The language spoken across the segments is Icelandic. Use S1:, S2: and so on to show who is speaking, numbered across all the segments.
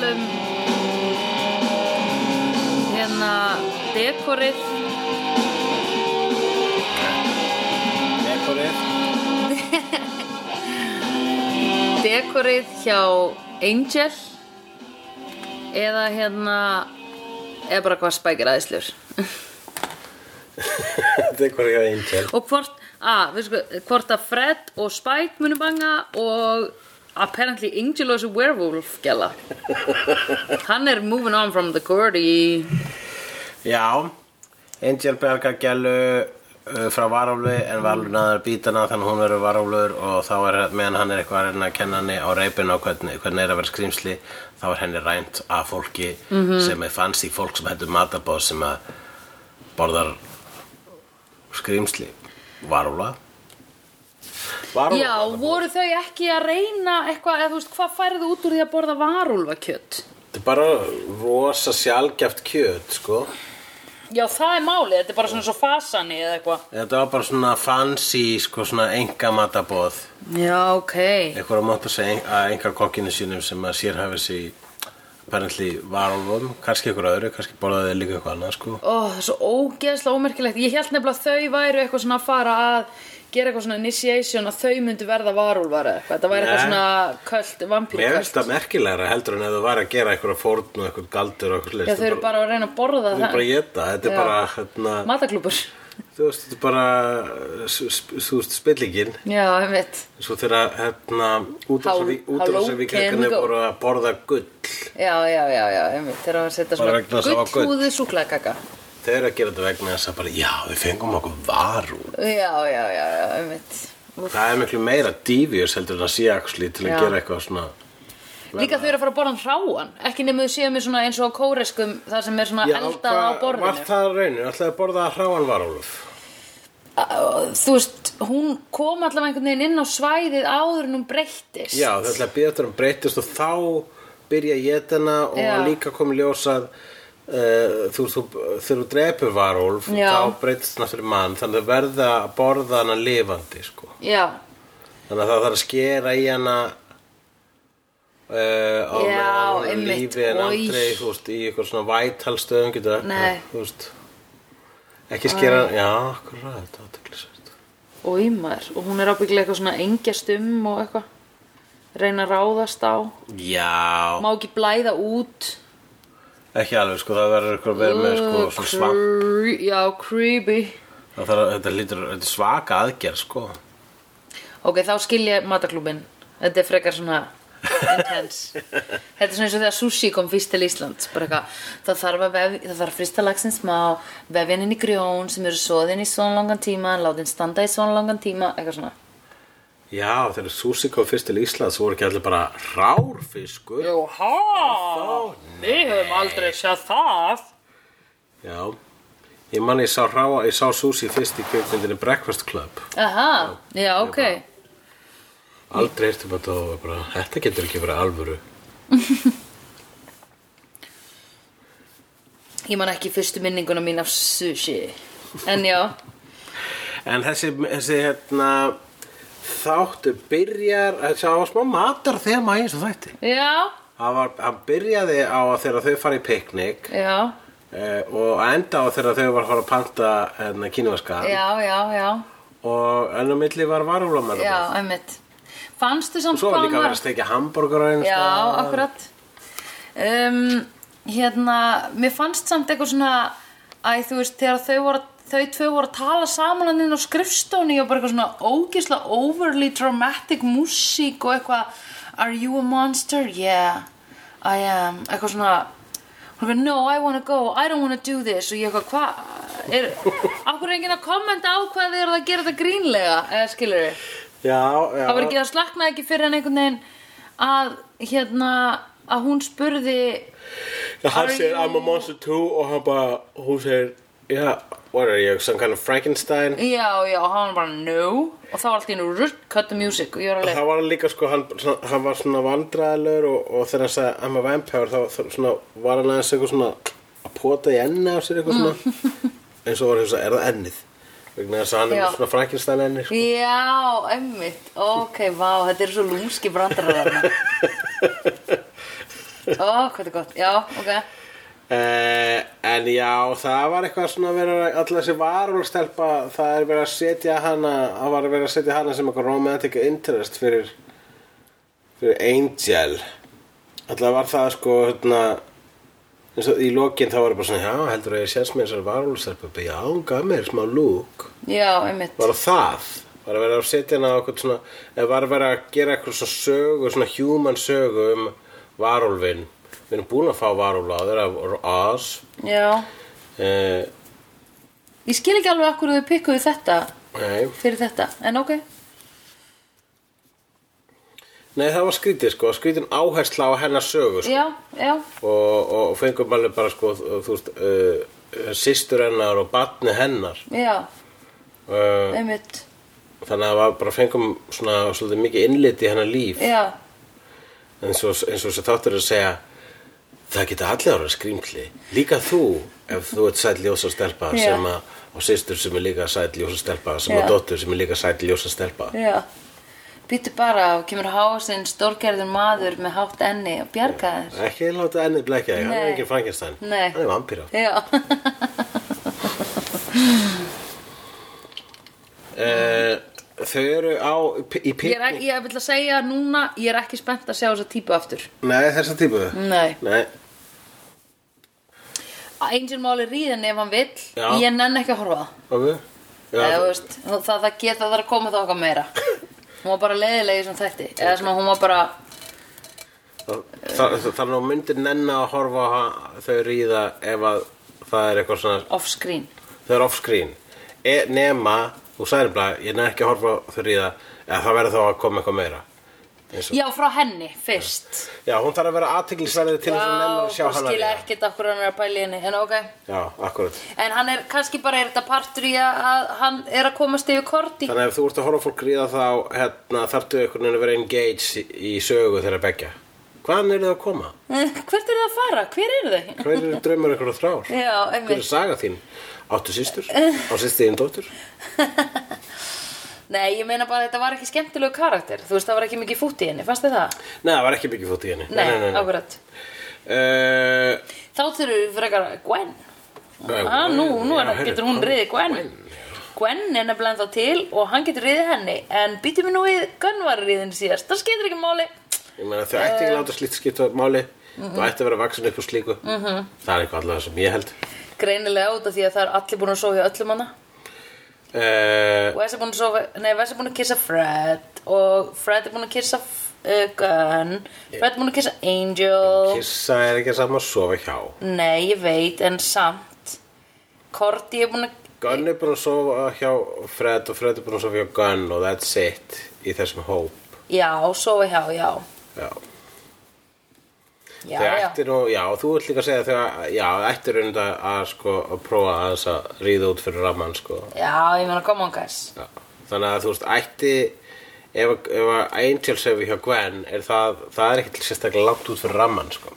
S1: um, hérna, dekorið hjá Angel eða hérna eða bara hvað spækir aðeinslur
S2: Þetta er hvað ég að Angel
S1: og hvort, að, við sko, hvort að Fred og Spike munu banga og apparently Angel was a werewolf gæla hann er moving on from the Gordy
S2: Já, Angel berga gælu uh, frá varálfi en varálfi næður bítana þannig að hún verður varálfur og þá er meðan hann er eitthvað að reyna að kenna henni á reipinu og hvernig, hvernig er að vera skrýmsli þá er henni rænt af fólki sem er fannst í fólk sem hættu matabóð sem að borðar skrýmsli varálfa Varúlfa
S1: já, voru þau ekki að reyna eitthvað, eða þú veist, hvað færðu út úr því að borða varúlfakjött
S2: Þetta er bara rosa sjálfgæft kjöt sko
S1: já, það er málið, þetta er bara svona svo fasani eða eitthvað
S2: Þetta var bara svona fancy sko svona enga matabóð
S1: já, ok,
S2: einhver að máta sig að einhver kokkinu sínum sem að sér hafi sig apparently varálfum, kannski einhver öðru kannski borðaði þeir líka eitthvað annað sko
S1: Ó, það er svo ógeðslega ómerkilegt. Ég held nefnilega að þau væru eitthvað svona að fara að gera eitthvað svona initiation að þau myndu verða varúlvar eða eitthvað. Þetta væri eitthvað
S2: Nei.
S1: svona köld, vampíru
S2: Mér finnst það merkilegra heldur en að þú var að gera einhver fórn og einhver galdur og einhver
S1: Já, þau eru bara að reyna að borða
S2: Þau eru
S1: það.
S2: bara að geta, þetta er
S1: Já.
S2: bara hérna,
S1: Mataklúpur.
S2: þú veist, þetta er bara uh, s- s- þú veist, spillingin
S1: Já, ég veit.
S2: svo þegar hérna
S1: How- how low can we
S2: útrásavíkjarkanir
S1: go?
S2: voru að borða gull
S1: Já, já, já, já, ég veit. Þeir eru að setja
S2: Bara vegna
S1: svona
S2: þess að það var gull.
S1: gullhúðu súklaðkaka.
S2: þau eru að gera þetta vegna þess að bara já, við fengum okkur varúl
S1: Já, já, já, já, ég veit.
S2: Það er miklu meira devious heldur en að sé axli til að
S1: Já.
S2: gera eitthvað svona
S1: Líka þau eru að fara að borða hann hráan. Ekki nema þau séu með svona eins og á kóreskum þar sem er svona eldað á borðinu.
S2: Var það raunin? Ætlaði að borða hráan varólf
S1: þú veist, hún kom allavega einhvern veginn inn á svæðið áður en hún breyttist.
S2: Já, þau ætlaði að býða þetta um breytist og þá byrja að geta hana og
S1: Já.
S2: líka komið ljós að uh, þú, þú, þegar þú drepur varólf
S1: Já.
S2: þá breytist hann fyrir mann þannig að þau verða að borða hana lifandi sko.
S1: Já,
S2: þannig að það þarf að skera í hana Uh,
S1: Já,
S2: á meðan hún er á
S1: einmitt,
S2: lífi en
S1: oj.
S2: aldrei þú veist, í eitthvað svona vætalstöðum getur það
S1: Nei.
S2: þú veist ekki skera, já, akkurat þetta er athyglisvert.
S1: og ímaður. Og hún er ábyggilega eitthvað svona engjast um og eitthvað. Reyna að ráðast á.
S2: já,
S1: Má ekki blæða út.
S2: ekki alveg sko það verður eitthvað verið með sko
S1: Ugh,
S2: svona svak,
S1: cre- Já, creepy.
S2: það þarf, að- þetta lítur þetta er svaka aðgerð sko
S1: Ok, þá skil ég mataklúbin. Þetta er frekar svona intense. Þetta er svona eins og þegar sushi kom fyrst til Íslands. Bara eitthvað, það þarf að vef, það þarf að frysta laxinn smá, vefjan inn í grjón sem eru soðin í svona langan tíma, látin standa í svona langan tíma, eitthvað svona.
S2: já, þegar Susi kom fyrst til Íslands voru ekki allir bara rárfiskur
S1: Jóha, við höfum aldrei séð það.
S2: já, ég man ég sá, ráa, ég sá Susi fyrst í kjöfmyndinni Breakfast Club
S1: Aha, já, ok.
S2: Aldrei ertu bara það og bara, þetta getur ekki verið alvöru.
S1: Ég man ekki fyrstu minninguna mín af sushi. En já,
S2: En þessi, þessi hérna, þáttu byrjar, þessi, það var smá matar þema í þessu þætti.
S1: já,
S2: Það var, hann byrjaði á að þegar þau fara í piknik
S1: já,
S2: eh, og enda á þegar þau var að fara að panta hérna, kínuvaska
S1: já, já, já,
S2: og enn á milli var varúlamæra.
S1: já, einmitt. Fannstu samt
S2: Svo var
S1: hvað
S2: líka að vera
S1: maður-
S2: að steikja hambúrgur á einu
S1: Já,
S2: stað.
S1: akkurat um, Hérna, mér fannst samt eitthvað svona Æ, þú veist, þegar þau voru þau tvö voru að tala saman hann inn á skrifstóni og bara eitthvað svona ógeðslega overly dramatic músík og eitthvað Are you a monster? Yeah, I am eitthvað svona hún er eitthvað, No, I wanna go, I don't wanna do this og ég eitthvað, hvað er akkur er enginn að kommenta á hvað þið eru að gera þetta grínlega Eh, eða skilur þið
S2: Já, já.
S1: það var ekki, það slaknaði ekki fyrir en einhvern veginn að hérna að hún spurði
S2: Já, hann
S1: Are
S2: segir
S1: you-
S2: I'm a monster too og hann bara, hún segir, yeah, what are you, some kind of Frankenstein?
S1: já, já, og hann bara no og þá var allt í nú rutt, cut the music og ég var alveg,
S2: Það var líka sko, hann, svona- hann var svona vandræðilegur og, og þegar hann sagði I'm a vampire þá, þá svona, var hann aðeins eitthvað svona að pota í enni á sér eitthvað svona eins og var þess að er það ennið vegna þess að hann er
S1: Já.
S2: með svona Frankenstein enni sko.
S1: já, emmitt ok, vá, þetta eru svo lúmski brandarar þarna ó, hvað þetta er gott, já, ok
S2: eh, En já, það var eitthvað svona að vera alltaf þessi varúlstelpa það er verið að setja hana það var verið að setja hana sem eitthvað romantic interest fyrir Hver er Angel? Alltaf var það sko hérna eins og í lokin þá var það bara svona já, heldur að ég sést með þessar varúlsarpöpi já, hún gaf mér smá lúk
S1: Já, einmitt
S2: var það var að vera að setja inn á okkur svona eða var að vera að gera eitthvað svona sögu svona human sögu um varúlfin við erum búin að fá varúla á þeirra Oz
S1: Já
S2: eh,
S1: Ég skil ekki alveg akkur þau pikkuðu þetta
S2: nei
S1: fyrir þetta, en ok
S2: Nei, það var skrítið sko, skrítin áhersla á hennar sögu sko.
S1: Já, já,
S2: og, og fengum alveg bara sko, þú þú veist, uh, sýstur hennar og batni hennar
S1: já,
S2: uh,
S1: einmitt
S2: þannig að það var bara fengum svona svolítið mikið innlit í hennar líf
S1: Já,
S2: eins og, eins og þessi þáttur er að segja það geta allir ára skrýmkli líka þú ef þú ert sæll ljósa stelpa
S1: Já.
S2: sem að, og sýstur sem er líka sæll ljósa stelpa sem
S1: Já.
S2: að dóttur sem er líka sæll ljósa stelpa
S1: já Býtu bara og kemur hásinn stórgerður maður með hátt enni og bjarga þér
S2: ekki láta ennið blekja þig, hann er
S1: Nei.
S2: ekki Frankenstein
S1: Nei.
S2: hann er vampíra
S1: Já,
S2: Eh, þau eru á
S1: ég,
S2: í
S1: er,
S2: pikk
S1: ekki- ég vil að segja núna, ég er ekki spennt að sjá þessa típu aftur
S2: Nei, þessa típu
S1: Nei
S2: Nei,
S1: Angel máli ríðin ef hann vill
S2: Já.
S1: Ég nenn ekki að horfa á það
S2: ok Já,
S1: Eða, þú veist, það, það geta það er að koma það okkar meira Hún var bara leiðilegi sem þætti Eða sem að hún var bara
S2: það, það, það, það er nú myndir nenni að horfa á ha- þau ríða ef að það er eitthvað svona
S1: off-screen
S2: þau eru off-screen e, nema, þú sagði bara ég nenni ekki að horfa á þau ríða eða það verður þá að koma eitthvað meira Eins og-
S1: Já, frá henni, fyrst
S2: Já, hún þarf að vera aðteglisverðið til þess að nenni að sjá
S1: bara
S2: hana
S1: skilja
S2: ríða
S1: ekkert af hverju hann er að pæla í henni En ok
S2: Já, akkurat
S1: En hann er kannski bara, er þetta partur í að, að hann er að komast yfir korti?
S2: Þannig að ef þú ert að horfa á fólk ríða þá hérna, þarftu einhvern veginn að vera engaged í, í sögu þeirra begja Hvaðan eru þau að koma?
S1: Eh, Hvert eru það að fara? Hver eru þau?
S2: Hver eru draumar ykkur og þrár?
S1: Já,
S2: Hver er
S1: einmitt.
S2: saga þín? Áttu sístur?
S1: Eh.
S2: Á sýsti þín dóttur?
S1: Nei, ég meina bara að þetta var ekki skemmtilegu karakter. Þú veist, það var ekki mikið fútt í henni, fannst þið það?
S2: Nei, það var ekki mikið fótt í henni.
S1: Nei, akkurat.
S2: Uh,
S1: Þá þurfum við frekar Gwen.
S2: Gwen,
S1: Ah, nú, nú
S2: já,
S1: er,
S2: heyrðu,
S1: getur hún
S2: Gwen,
S1: riðið Gwen. Gwen er nefnilega ennþá til og hann getur riðið henni. En býtum við nú við Gwen var riðin síðast. Það skeytir ekki máli.
S2: ég meina þau ætti
S1: Eh.
S2: ekki að láta slíkt skipta máli. Þú ætti að vera vaksin upp úr slíku.
S1: Mhm.
S2: Það er eitthvað allavega sem ég held.
S1: Greinilega út af því að það er allir búin að sofa hjá öllum hana.
S2: Uh,
S1: Wes er búin að sofa, nei Wes er búin að kissa Fred og Fred er búin að kissa uh, Gunn, Fred er búin að kissa Angel
S2: kissa er ekki saman að sofa hjá.
S1: Nei, ég veit, en samt Korti er búin að
S2: Gunn er búin að sofa hjá Fred og Fred er búin að sofa hjá Gunn og that's it í þessum hóp.
S1: Já, sofa hjá, já
S2: Já.
S1: Já,
S2: Þau
S1: já,
S2: ættir nú, já, þú vilt líka að segja þau, já, ættir rauninu að, að sko, að prófa að þess að ríða út fyrir rammann, sko.
S1: já, ég meina, come on guys
S2: Já. Þannig að þú veist, ætti, ef, ef að Angel sefi hjá Gwen, er það, það er ekkert sérstaklega langt út fyrir rammann, sko.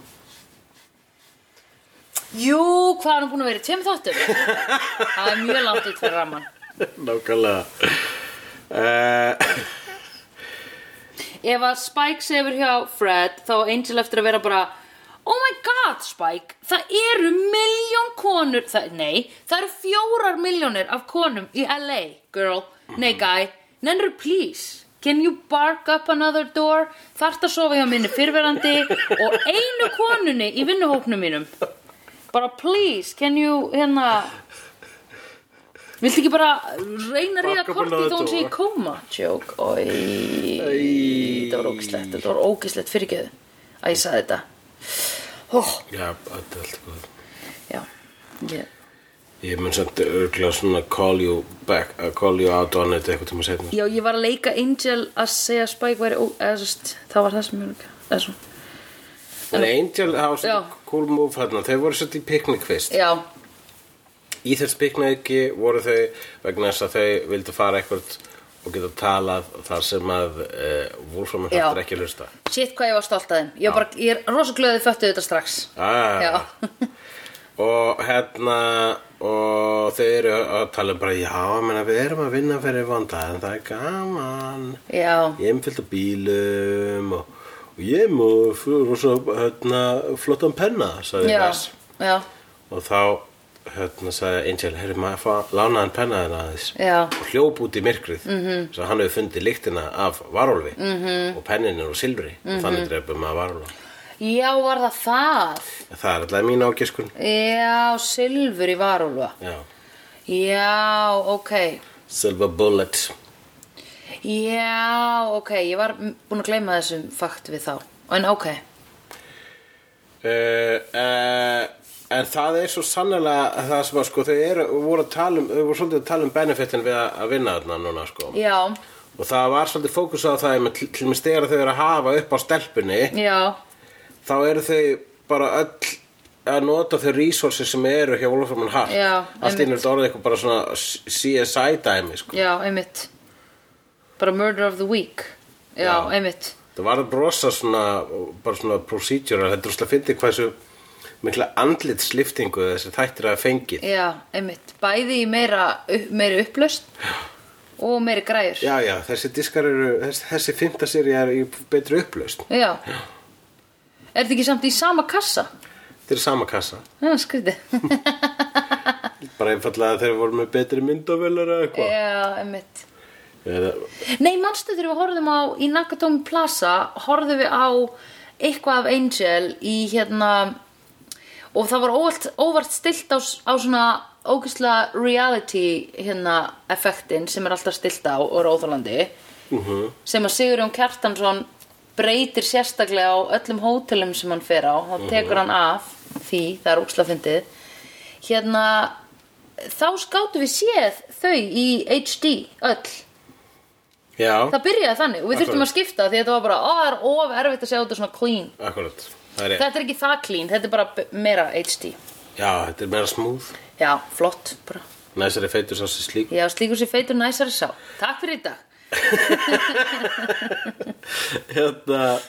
S1: Jú, hvað er hann búin að vera í tveim þáttum? það er mjög langt út fyrir ramann
S2: Nákvæmlega. Uh,
S1: Ef að Spike sefur hjá Fred þá á Angel eftir að vera bara Oh my god Spike, það eru miljón konur, það, nei, það eru fjórar miljónir af konum í LA, girl, nei guy, nennur please, can you bark up another door, þarft að sofa hjá minni fyrverandi og einu konunni í vinnuhóknum mínum, bara please, can you, hérna, viltu ekki bara reyna að reyða
S2: Bark up
S1: kortið
S2: another
S1: þó hún sé í
S2: door.
S1: koma, joke, oi, Þetta var ógislegt, þetta var ógislegt fyrirgeðu að ég saði þetta. Ó,
S2: já, þetta er allt góð.
S1: já, ég,
S2: Ég mun samt örglega svona call you back, uh, call you out on it eitthvað tíma setna.
S1: já, ég var að leika Angel að segja að Spike væri, ó, eða sérst, það var það sem ég var eða svo.
S2: En Angel, það var
S1: Já.
S2: svona cool move hérna, þau voru svolítið í piknikvist.
S1: Já,
S2: Í þess piknauki voru þau vegna þess að þau vildu fara eitthvað og geta talað þar sem að uh, Wolfram er
S1: Já.
S2: hættur ekki að hlusta.
S1: shit hvað ég var stolt að þeim. Ég, var bara, ég er rosa glöðið föttu þetta strax.
S2: Ah,
S1: Já,
S2: Og hérna, og þau eru að tala um bara, já, menna, við erum að vinna fyrir vonda, en það er gaman.
S1: já,
S2: Ég er umfyllt á bílum og, og ég er mjög rosa, hérna, flottan penna, sagði
S1: já,
S2: Vess.
S1: já,
S2: Og þá hérna sagði Angel, heyrðu maður að fá lánaðan pennaðina aðeins
S1: Já.
S2: og hljóp út í myrkrið -hmm. svo hann hefur fundið lyktina af varólfi -hmm. og pennin er úr silfri og þannig drefum maður varólfa
S1: Já, var það það?
S2: það er alltaf mín ágiskun
S1: Já, silfur í varúlfa.
S2: Já.
S1: Já, ok.
S2: silver bullet
S1: Já, ok. Ég var búin að gleyma þessum fakt við þá. En ok.
S2: uh, uh, en það er svo sannlega það sem að sko þau eru, voru að tala um, þau voru svolítið að tala um benefitin við að, að vinna þarna núna sko
S1: Já,
S2: og það var svolítið fókus á það einmitt, til til dæmis þegar þau eru að hafa upp á stelpunni
S1: já,
S2: þá eru þau bara öll að nota þau resources sem eru hjá Wolfram and Hart
S1: Já,
S2: allt inn er þetta orðið eitthvað bara svona CSI dæmi sko.
S1: já, einmitt. Bara murder of the week. Já,
S2: Já.
S1: einmitt.
S2: það var brosa svona bara svona procedural, þetta er svona að fyndi hversu mikla andlitsliftingu þessi þættir að fengið
S1: Já, einmitt. Bæði í meira, upp- meiri upplaust og meiri græður.
S2: já já, þessi diskar eru þessi, þessi fymta seri er í betri upplaust
S1: Já. Er þetta ekki samt í sama kassa?
S2: þetta er sama kassa,
S1: Já, skrítið.
S2: bara einfallega þegar við vorum með betri myndavelar eða eitthvað
S1: Já, einmitt.
S2: Eða-
S1: Nei, manstu þegar við horfðum á í Nakatomi Plaza, horfðum við á eitthvað af Angel í hérna og það var óvart, óvart stilt á, s- á svona ógeðslega reality hérna effektin sem er alltaf stilt á og er óþálandi sem að Sigurjón Kjartansson breytir sérstaklega á öllum hótelum sem hann fer á og tekur hann af því það er ógeðslega fyndið hérna þá skáttum við séð þau í HD öll
S2: já,
S1: Það byrjaði þannig og við þurftum að
S2: Akkurat.
S1: skipta því þetta var bara, ó, það er of erfitt að sjá þetta svona clean.
S2: akkurat það er ég,
S1: Þetta er ekki það clean, þetta er bara b- meira HD.
S2: já, þetta er meira smúð
S1: Já, flott, bara.
S2: næsari feitur sá sér slík
S1: Já, slíkur sér feitur næsari sá. Takk fyrir í dag.
S2: hérna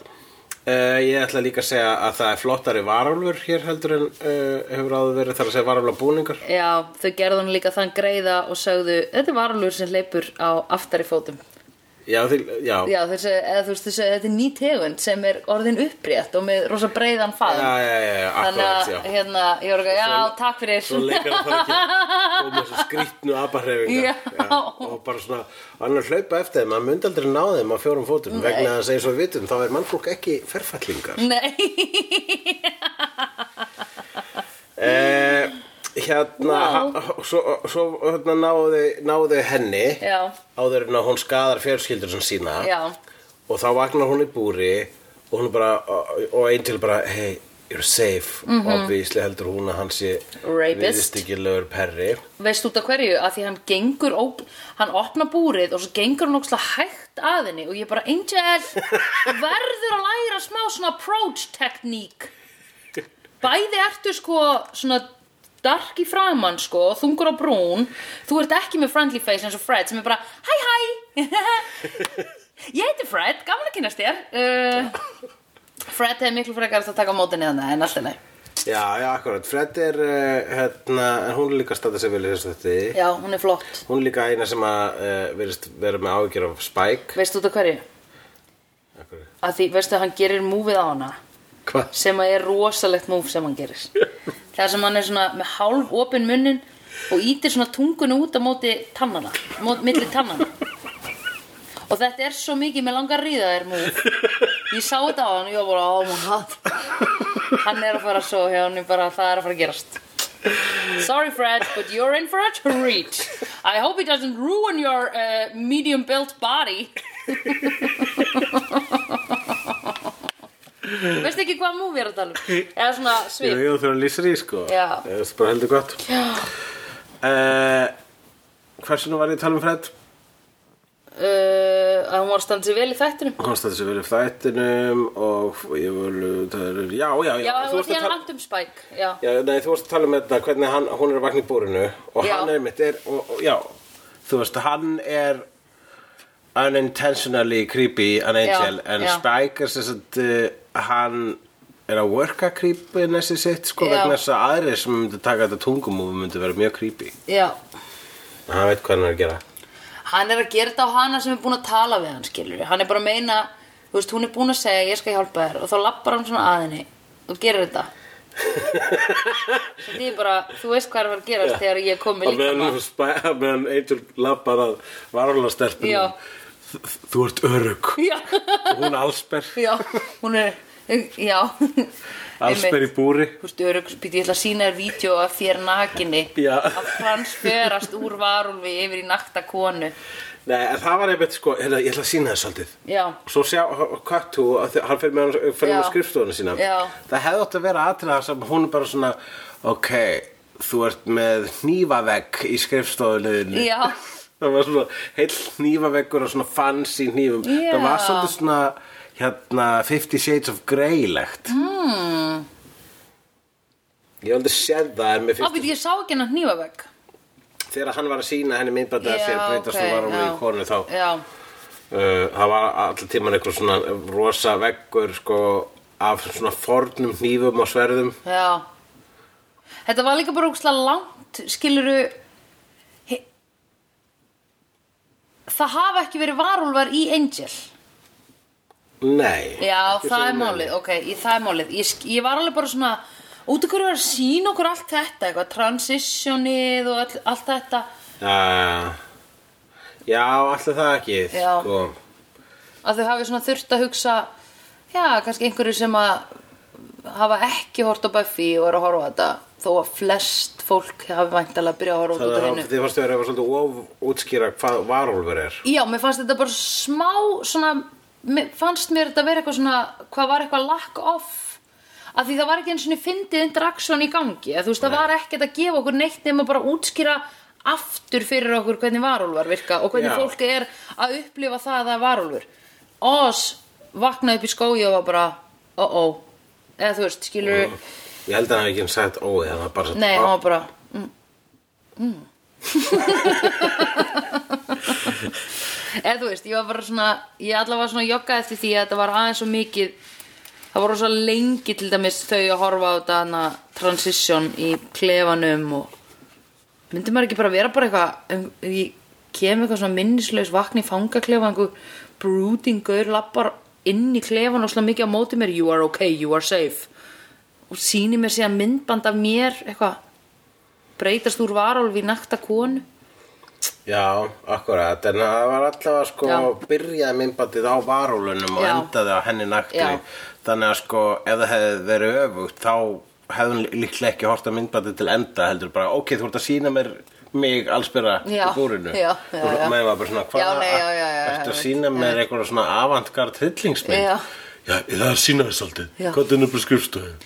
S2: Uh, ég ætla líka að segja að það er flottari varálfur hér heldur en uh, hefur áður verið þar að segja varálfa búningar
S1: Já, þau gerðu hann líka þann greiða og sögðu, þetta er varulur sem leipur á aftari fótum.
S2: Já, því, já, já,
S1: Já, þau segja, eða þú veist, þau segja, þetta er ný tegund sem er orðin upprétt og með rosa breiðan
S2: já,
S1: faðum.
S2: já, já, akkurat,
S1: Þannig
S2: já
S1: að, hérna, ég voru ekki, já,
S2: Svo-
S1: takk fyrir.
S2: Svo leikar það ekki og með þessu skrýtnu abarhefingar
S1: Já.
S2: Og bara svona, annar hlaupa eftir þeim, maður myndi aldrei ná þeim á fjórum fótum Vegna þess að eins og við vitum, þá er mannfólk ekki ferfallingar
S1: Nei,
S2: eh, Hérna,
S1: Vá.
S2: ha- svo, svo hérna, náðu, náðu henni
S1: Já.
S2: Áður en að hún skadar fjörskildur sem sína
S1: já,
S2: og þá vaknar hún í búri og hún er bara, og einn til bara hey, you're safe mm obviously heldur hún að hann sé
S1: Mhm. Rapist.
S2: viðstíkilegur perri
S1: veist út af hverju að því hann gengur ó, hann opna búrið og svo gengur hann ókslega hægt að henni og ég bara Angel verður að læra smá svona approach tekník bæði ertu sko svona dark í framann sko þungur á brún þú ert ekki með friendly face eins og Fred sem er bara hæ hæ ég heiti Fred, gaman að kynast þér uh, Fred hefði miklu frekar að taka á móti neðan en alltaf nei
S2: já, já, akkurat, Fred er uh, hérna, en hún er líka að staða sig vel í þessu þetta
S1: já, hún er flott
S2: hún er líka eina sem að uh, verist vera með áhyggjur af Spike
S1: veist út af hverju
S2: Af hverju?
S1: að því, veistu, hann gerir múfið á hana
S2: hvað?
S1: sem að er rosalegt múf sem hann gerir það sem hann er svona með hálf opin munnin og ítir svona tungun út á móti tannana, mót, milli tannana og þetta er svo mikið með langar að ríða þér múf ég sá þetta á hann og ég var bara, oh my god hann er að fara svo hjá hann bara, það er að fara að gerast Sorry Fred, but you're in for a treat I hope it doesn't ruin your uh, medium built body Veistu ekki hvað múfi er að tala um? Eða svona
S2: Jú,
S1: svip
S2: jú, þú er að lýsa því, sko
S1: Já.
S2: Það er bara heldur gott uh, Hversinu var ég að tala um Fred?
S1: uh, að hún var að standa sér vel í þættinum
S2: Hún staði sig vel í þættinum og ég vil, það er, um- já, já, já
S1: Já, það
S2: þú
S1: var
S2: varst
S1: því
S2: að
S1: hann
S2: tala-
S1: langt um Spike Já,
S2: Já, nei, þú varst að tala um þetta hvernig hann, hún er að vakna í búrinu og
S1: Já.
S2: hann er mitt er, og, og, já, þú veist, hann er unintentionally creepy an angel,
S1: Já,
S2: en
S1: já.
S2: Spike er sem sagt, uh, hann er að worka creepy næstu sitt, sko,
S1: Já.
S2: vegna þess að aðrir sem myndi taka þetta tungum og myndi vera mjög creepy.
S1: já
S2: En Hann veit hvað hann er að gera.
S1: Hann er að gera þetta á hana sem er búin að tala við hann skilur Hann er bara að meina Þú veist, hún er búin að segja ég skal hjálpa þér og þá lappar hann svona að henni og gerir þetta Svo því bara, þú veist hvað er að fara að gerast þegar ég kom með
S2: Á meðan,
S1: líkama
S2: spæ- á meðan Angel lappar að varulagstelpunum
S1: Já.
S2: Þú ert örug
S1: Já,
S2: og hún allsber
S1: já, hún er, já
S2: allsber í
S1: Einmitt.
S2: búri
S1: Þú veist, örugsbytti, ég ætla að sína þér vídeo af þér nakinni
S2: Já.
S1: að transferast úr varulvi yfir í nakta konu
S2: Nei, en það var einmitt sko, hérna, ég ætla að sína þess svolítið
S1: Já,
S2: Svo sjá, hvað þú, hann fyrir með hann fyrir
S1: Já.
S2: með skrifstofuna sína
S1: Já.
S2: Það hefði átt að vera aðtrið það sem hún er bara svona Ok, þú ert með hnífavegg í skrifstofunniðinni
S1: já,
S2: Það var svona heill hnífaveggur og svona fancy hnífum
S1: Já.
S2: Það var svolítið svona, hérna, 50 Shades of Grey-legt mm.
S1: Hmm.
S2: Ég hef aldrei séð það en mér finnst
S1: ábyrði, ég sá ekki hennar hnífavegg
S2: þegar hann var að sína henni myndbæti að
S1: Já,
S2: sér breytast
S1: ok,
S2: og var hún í
S1: já.
S2: konu þá uh,
S1: Já,
S2: það var alltaf tíman einhver svona rosa veggur sko, af svona fornum hnífum og sverðum
S1: já Þetta var líka bara ógstlega langt, skiluru he- Það hafa ekki verið varulvar í Angel
S2: nei
S1: Já,
S2: ekki
S1: það er
S2: sem
S1: málið, ok, ég, það er málið ég, sk- ég var alveg bara svona út af hverju var að sína okkur allt þetta eitthvað, transitionið og all, allt þetta
S2: uh, já, alltaf það ekki
S1: Já.
S2: sko.
S1: að þau hafi svona þurft að hugsa já, kannski einhverju sem að hafa ekki hort á Buffy og er að horfa á þetta þó að flest fólk hafi væntalega að byrja að horfa út út
S2: þannig að
S1: af
S2: það-
S1: hennu
S2: þið fannst þér að vera svolítið of útskýra hvað varúlfur er
S1: Já, mér fannst þetta bara smá svona, mér, fannst mér þetta vera eitthvað svona, hvað var eitthvað lack off af því það var ekki eins og fyndið interaction í gangi, að, þú veist, það var ekkert að gefa okkur neitt nema bara útskýra aftur fyrir okkur hvernig varúlvar virka og hvernig
S2: Já.
S1: fólk er að upplifa það að það er varúlfur Oz vaknaði upp í skói og var bara, oh-oh eða þú veist, skilur
S2: ég held að hann hafi ekki sagt ói það var bara sagt,
S1: nei,
S2: "Ah,
S1: hann var bara mm, mm. eða þú veist, ég var bara svona ég allavega var svona joggað eftir því að þetta var aðeins svo mikið það voru svo lengi til dæmis þau að horfa á þetta hana transition í klefanum og myndi maður ekki bara vera bara eitthvað um, ég kem eitthvað svona minnislaus vakna í fangaklefa einhver brooding gaur lappar inn í klefan og slá mikið á móti mér you are okay, you are safe og sýni mér síðan myndband af mér eitthvað breytast úr varálf í nakta konu
S2: Já, akkurat, en það var allavega sko
S1: Já.
S2: byrjaði myndbandið á varúlunum og
S1: Já.
S2: endaði á henni nakti
S1: Já.
S2: þannig að sko, ef það hefði verið öfugt þá hefði hún líklega ekki hort að myndbandið til enda heldur bara, ok, þú ert að sína mér mig allsbyrra í
S1: Já,
S2: búrinu
S1: já, já,
S2: og
S1: já.
S2: maður var bara svona,
S1: Já,
S2: hvað
S1: nei, já, já, já,
S2: ertu að
S1: já,
S2: sína
S1: já.
S2: mér einhverja svona avantgard hryllingsmynd
S1: Já.
S2: já, ég það er að sína þess aldrei
S1: Já.
S2: hvað er nefnir skrifstofið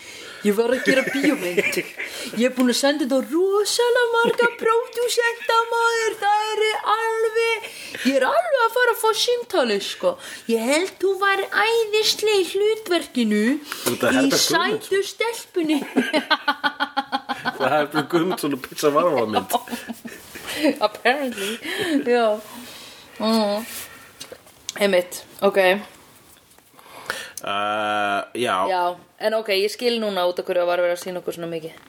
S1: ég var að gera bíómynd ég er búin að senda þetta á rosalega marga pródúsenda maður það er alveg ég er alveg að fara að fá símtali sko. ég held þú var æðislega í hlutverkinu
S2: ert að
S1: í
S2: sko. Herbert Guðmundsson.
S1: sætu stelpunni
S2: það er bara gumt svona pizza varúlamynd
S1: apparently já mm. einmitt, ok
S2: uh, já,
S1: Já, en ok, ég skil núna út okkur að var að vera að sína okkur svona mikið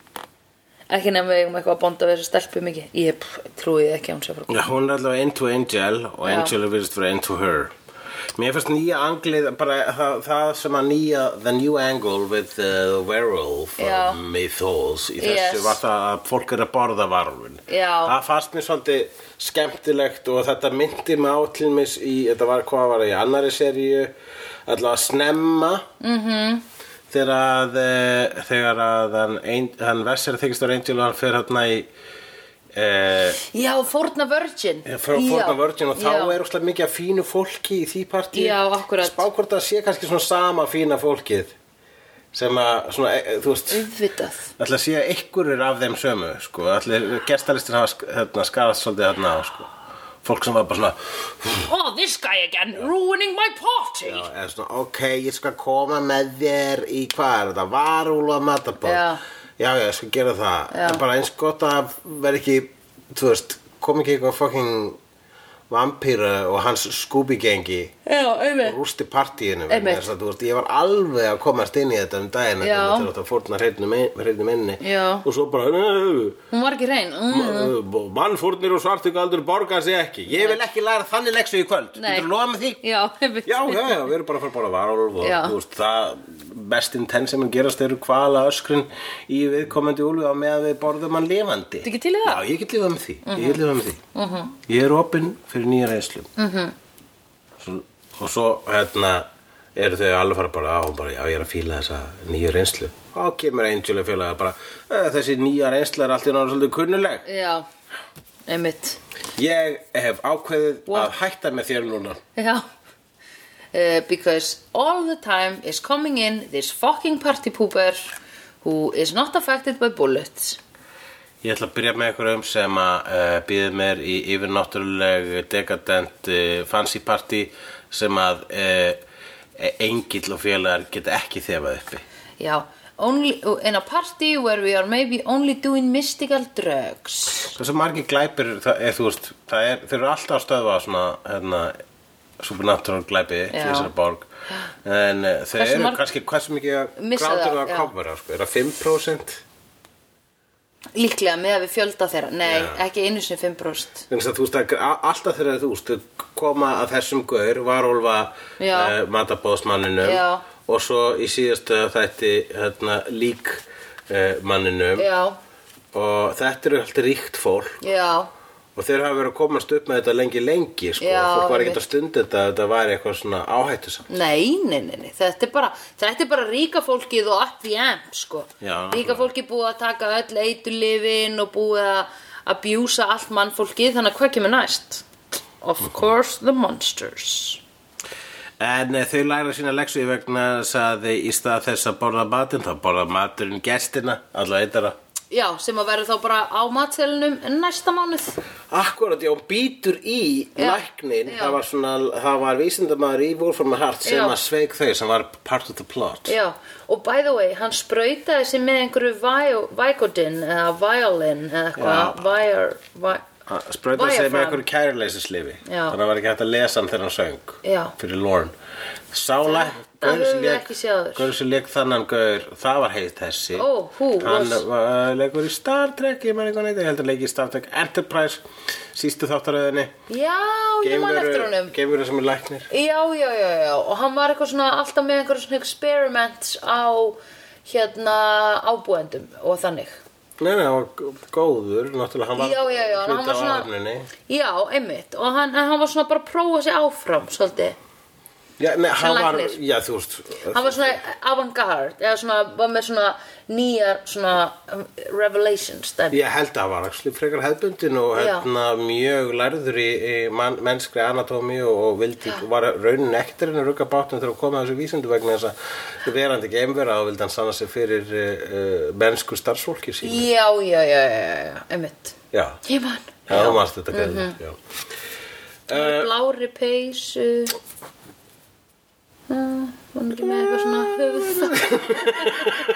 S1: Ekki nefnum við eigum eitthvað að bonda við þessu stelpu mikið Ég pff, trúi því ekki að hún sé frá
S2: Já, hún er allavega into Angel og
S1: Já.
S2: Angel er virðist fyrir into her. Mér finnst nýja anglið, bara það, það sem að nýja, the new angle with uh, the werewolf
S1: Já.
S2: um, mythos í
S1: Yes.
S2: þessu var það að fólk er að borða varulvin.
S1: Já.
S2: Það fannst mér svolítið skemmtilegt og þetta myndi mig á til mis í, þetta var hvað var í annari seríu, allavega snemma. Mm
S1: Mhm.
S2: -hmm. Þegar að, eh, þegar að hann, ein- hann Vesser þykist á Angel og hann fyrir hérna í... Eh,
S1: Já, Forna Virgin
S2: Já, Eh, frá Forna Virgin og þá
S1: já.
S2: er óslega mikið af fínu fólki í því partí
S1: Já, akkurat.
S2: Spá hvort það sé kannski svona sama fína fólkið sem að, svona, e- e- þú veist
S1: Mm. Auðvitað
S2: ætla að sé að einhverjur af þeim sömu sko, ætla að gestalistin hafa sk- hérna, skarað svolítið þarna á sko. fólk sem var bara svona
S1: Oh, this guy again, ruining my party
S2: já, eða svona, ok, ég skal koma með þér í hvað er þetta, varúlu að matabóð
S1: Já.
S2: já, já, ég skal gera það
S1: Já.
S2: en bara eins gott að vera ekki þú veist, kom ekki eitthvað fucking vampíra og hans Scooby gengi
S1: Já, auðvitað.
S2: rústi partíinu vegna
S1: Einmitt.
S2: þess að, þú veist, ég var alveg að komast inn í þetta um daginn
S1: Já.
S2: þetta var þetta að fórna hreinu minni
S1: Já.
S2: og svo bara "Nö,
S1: Hún var ekki hrein. Mm.
S2: m- mannfórnir og svartugaldur borga sig ekki ég vil ekki læra þannig leksu í kvöld
S1: Nei.
S2: getur lofa með því
S1: Já, einmitt.
S2: já, já, já, við erum bara að fara að borða varálf og
S1: Já.
S2: þú veist, það best intense sem gerast eru hvala öskrin í viðkomandi úlu á með að við borðum hann lifandi
S1: Ertu ekki til í það? Mhm.
S2: Já, ég get lifað með því, ég get lifað með því Ég er opinn fyrir nýja reynslu
S1: Mhm.
S2: svo, Og svo, hérna, eru þau alveg fara bara á og bara, já, ég er að fíla þessa nýju reynslu Þá kemur Angel að fíla bara, "Eh, þessi nýja reynsla er allt í náttúrulega svolítið kunnuleg
S1: Já, einmitt.
S2: Ég hef ákveðið
S1: What?
S2: að hætta með þér núna
S1: Já. Uh, because all the time is coming in this fucking party pooper who is not affected by bullets.
S2: Ég ætla að byrja með einhverjum sem að uh, býðið mér í yfirnáttúruleg dekadent uh, fancy party sem að uh, engill og félagar geta ekki þefað uppi.
S1: Já. Only, in a party where we are maybe only doing mystical drugs.
S2: Þessu margir glæpir, það er, þú veist, það er, þeir eru alltaf að stöðva svona, hérna, supernatural glæpi í
S1: Já.
S2: þessari borg. En uh, þeir
S1: Hversu
S2: eru
S1: marg-
S2: kannski, hversu mikið
S1: Missa
S2: grátur
S1: það,
S2: það að
S1: já.
S2: kofra, sko, er það 5%?
S1: Líklega með að við fjölda þeirra. Nei,
S2: Já.
S1: ekki einu sinni 5%.
S2: Þannig að þú veist að a- alltaf þegar þú veist þau koma að þessum gaur varólfa
S1: Já.
S2: uh, matabóðsmanninum
S1: Já.
S2: og svo í síðasta þætti hérna, lík uh, manninum
S1: Já,
S2: og þetta eru alltaf ríkt fólk
S1: já,
S2: og þeir hafa verið að komast upp með þetta lengi lengi sko.
S1: Já,
S2: fólk var
S1: einmitt.
S2: ekkert að stunda þetta að þetta væri eitthvað svona áhættusamt
S1: nei, nei, nei, nei. Þetta, er bara, þetta er bara ríka fólkið og at the end, sko.
S2: Já,
S1: ríka
S2: nákvæmlega.
S1: fólkið búið að taka öll eiturlifin og búið að abjúsa allt mannfólkið, þannig að hvað kemur næst? Of
S2: Mhm.
S1: course the monsters.
S2: En eh, þau læra sína leksu vegna þess að þau í stað þess að borða matinn þá borða maturinn gestina, allavega eitara
S1: Já, sem að verður þá bara á matselinum næsta mánuð.
S2: Akkurat, já, hún býtur í
S1: Já,
S2: læknin,
S1: já.
S2: það var svona, það var vísindamaður í Wolfram Hart sem
S1: Já.
S2: að sveik þau sem var part of the plot.
S1: Já, og by the way, hann sprautaði sig með einhverju vi- Vicodin eða Violin eða
S2: Já.
S1: eitthvað. Vire, vi-
S2: Hann Sprautaði sig með
S1: Viafram.
S2: einhverju kærileysislifi,
S1: Já.
S2: þannig að var ekki hægt að lesa hann þegar hann söng
S1: Já.
S2: fyrir Lorne. Sála,
S1: Þetta höfum við ekki séð áður.
S2: Gaur sem leik þannan gaur, það var heið þessi.
S1: Ó, who
S2: Hann
S1: was-
S2: uh, leikur í Star Trek, ég með einhvern veit, ég held að leik í Star Trek Enterprise, sístu þáttaröðinni.
S1: Já, ég man eftir honum.
S2: Geimveru sem er læknir.
S1: Já, já, já, já, og hann var eitthvað svona alltaf með einhverjum svona experiments á hérna ábúendum og þannig.
S2: Nei, nei, hann var góður, náttúrulega, hann var
S1: Já, já, já, hann
S2: hluti
S1: var
S2: af
S1: svona-
S2: áhöfninni.
S1: Já, einmitt, og hann, en hann var svona bara að prófa sig áfram, svolítið.
S2: Já, nei, hann var,
S1: læknir.
S2: já, þú veist
S1: Hann var svona avantgarde, eða svona, var með svona nýjar svona um, revelations, dæmi.
S2: Ég held að hann var axli frekar hefðbundin og
S1: Já.
S2: hérna mjög lærður í, í man, mennskri anatómi og, og vildi, var raunin ektir en að rugga bátnum þegar að koma að þessu vísindu vegna þess að verandi geimvera og vildi hann sanna sig fyrir uh, uh, mennsku starfsfólki sínu.
S1: Já, já, já, já, já, já, einmitt.
S2: Já,
S1: Ég man.
S2: já, þú varst þetta gæði,
S1: Mhm.
S2: já. Eh,
S1: Með Blári peysu. Mm, var hann ekki með eitthvað svona höfuð.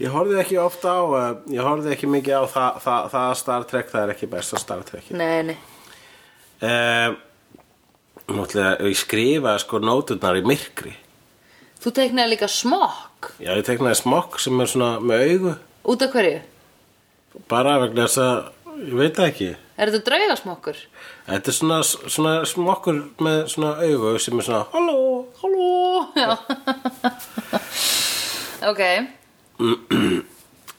S2: Ég horfði ekki ofta á, uh, ég horfði ekki mikið á það, það, það Star Trek, það er ekki besta Star Trek.
S1: Nei, nei.
S2: Eh, Náttúrulega, ég skrifa sko nóturnar í myrkri.
S1: Þú teiknaði líka smokk.
S2: Já, ég teknaði smokk sem er svona með augu.
S1: Út af hverju?
S2: Bara vegna þess að, ég veit það ekki.
S1: Er þetta draugasmokkur?
S2: Þetta er svona, svona smokkur með svona augu sem er svona, halló, halló.
S1: Já. ok.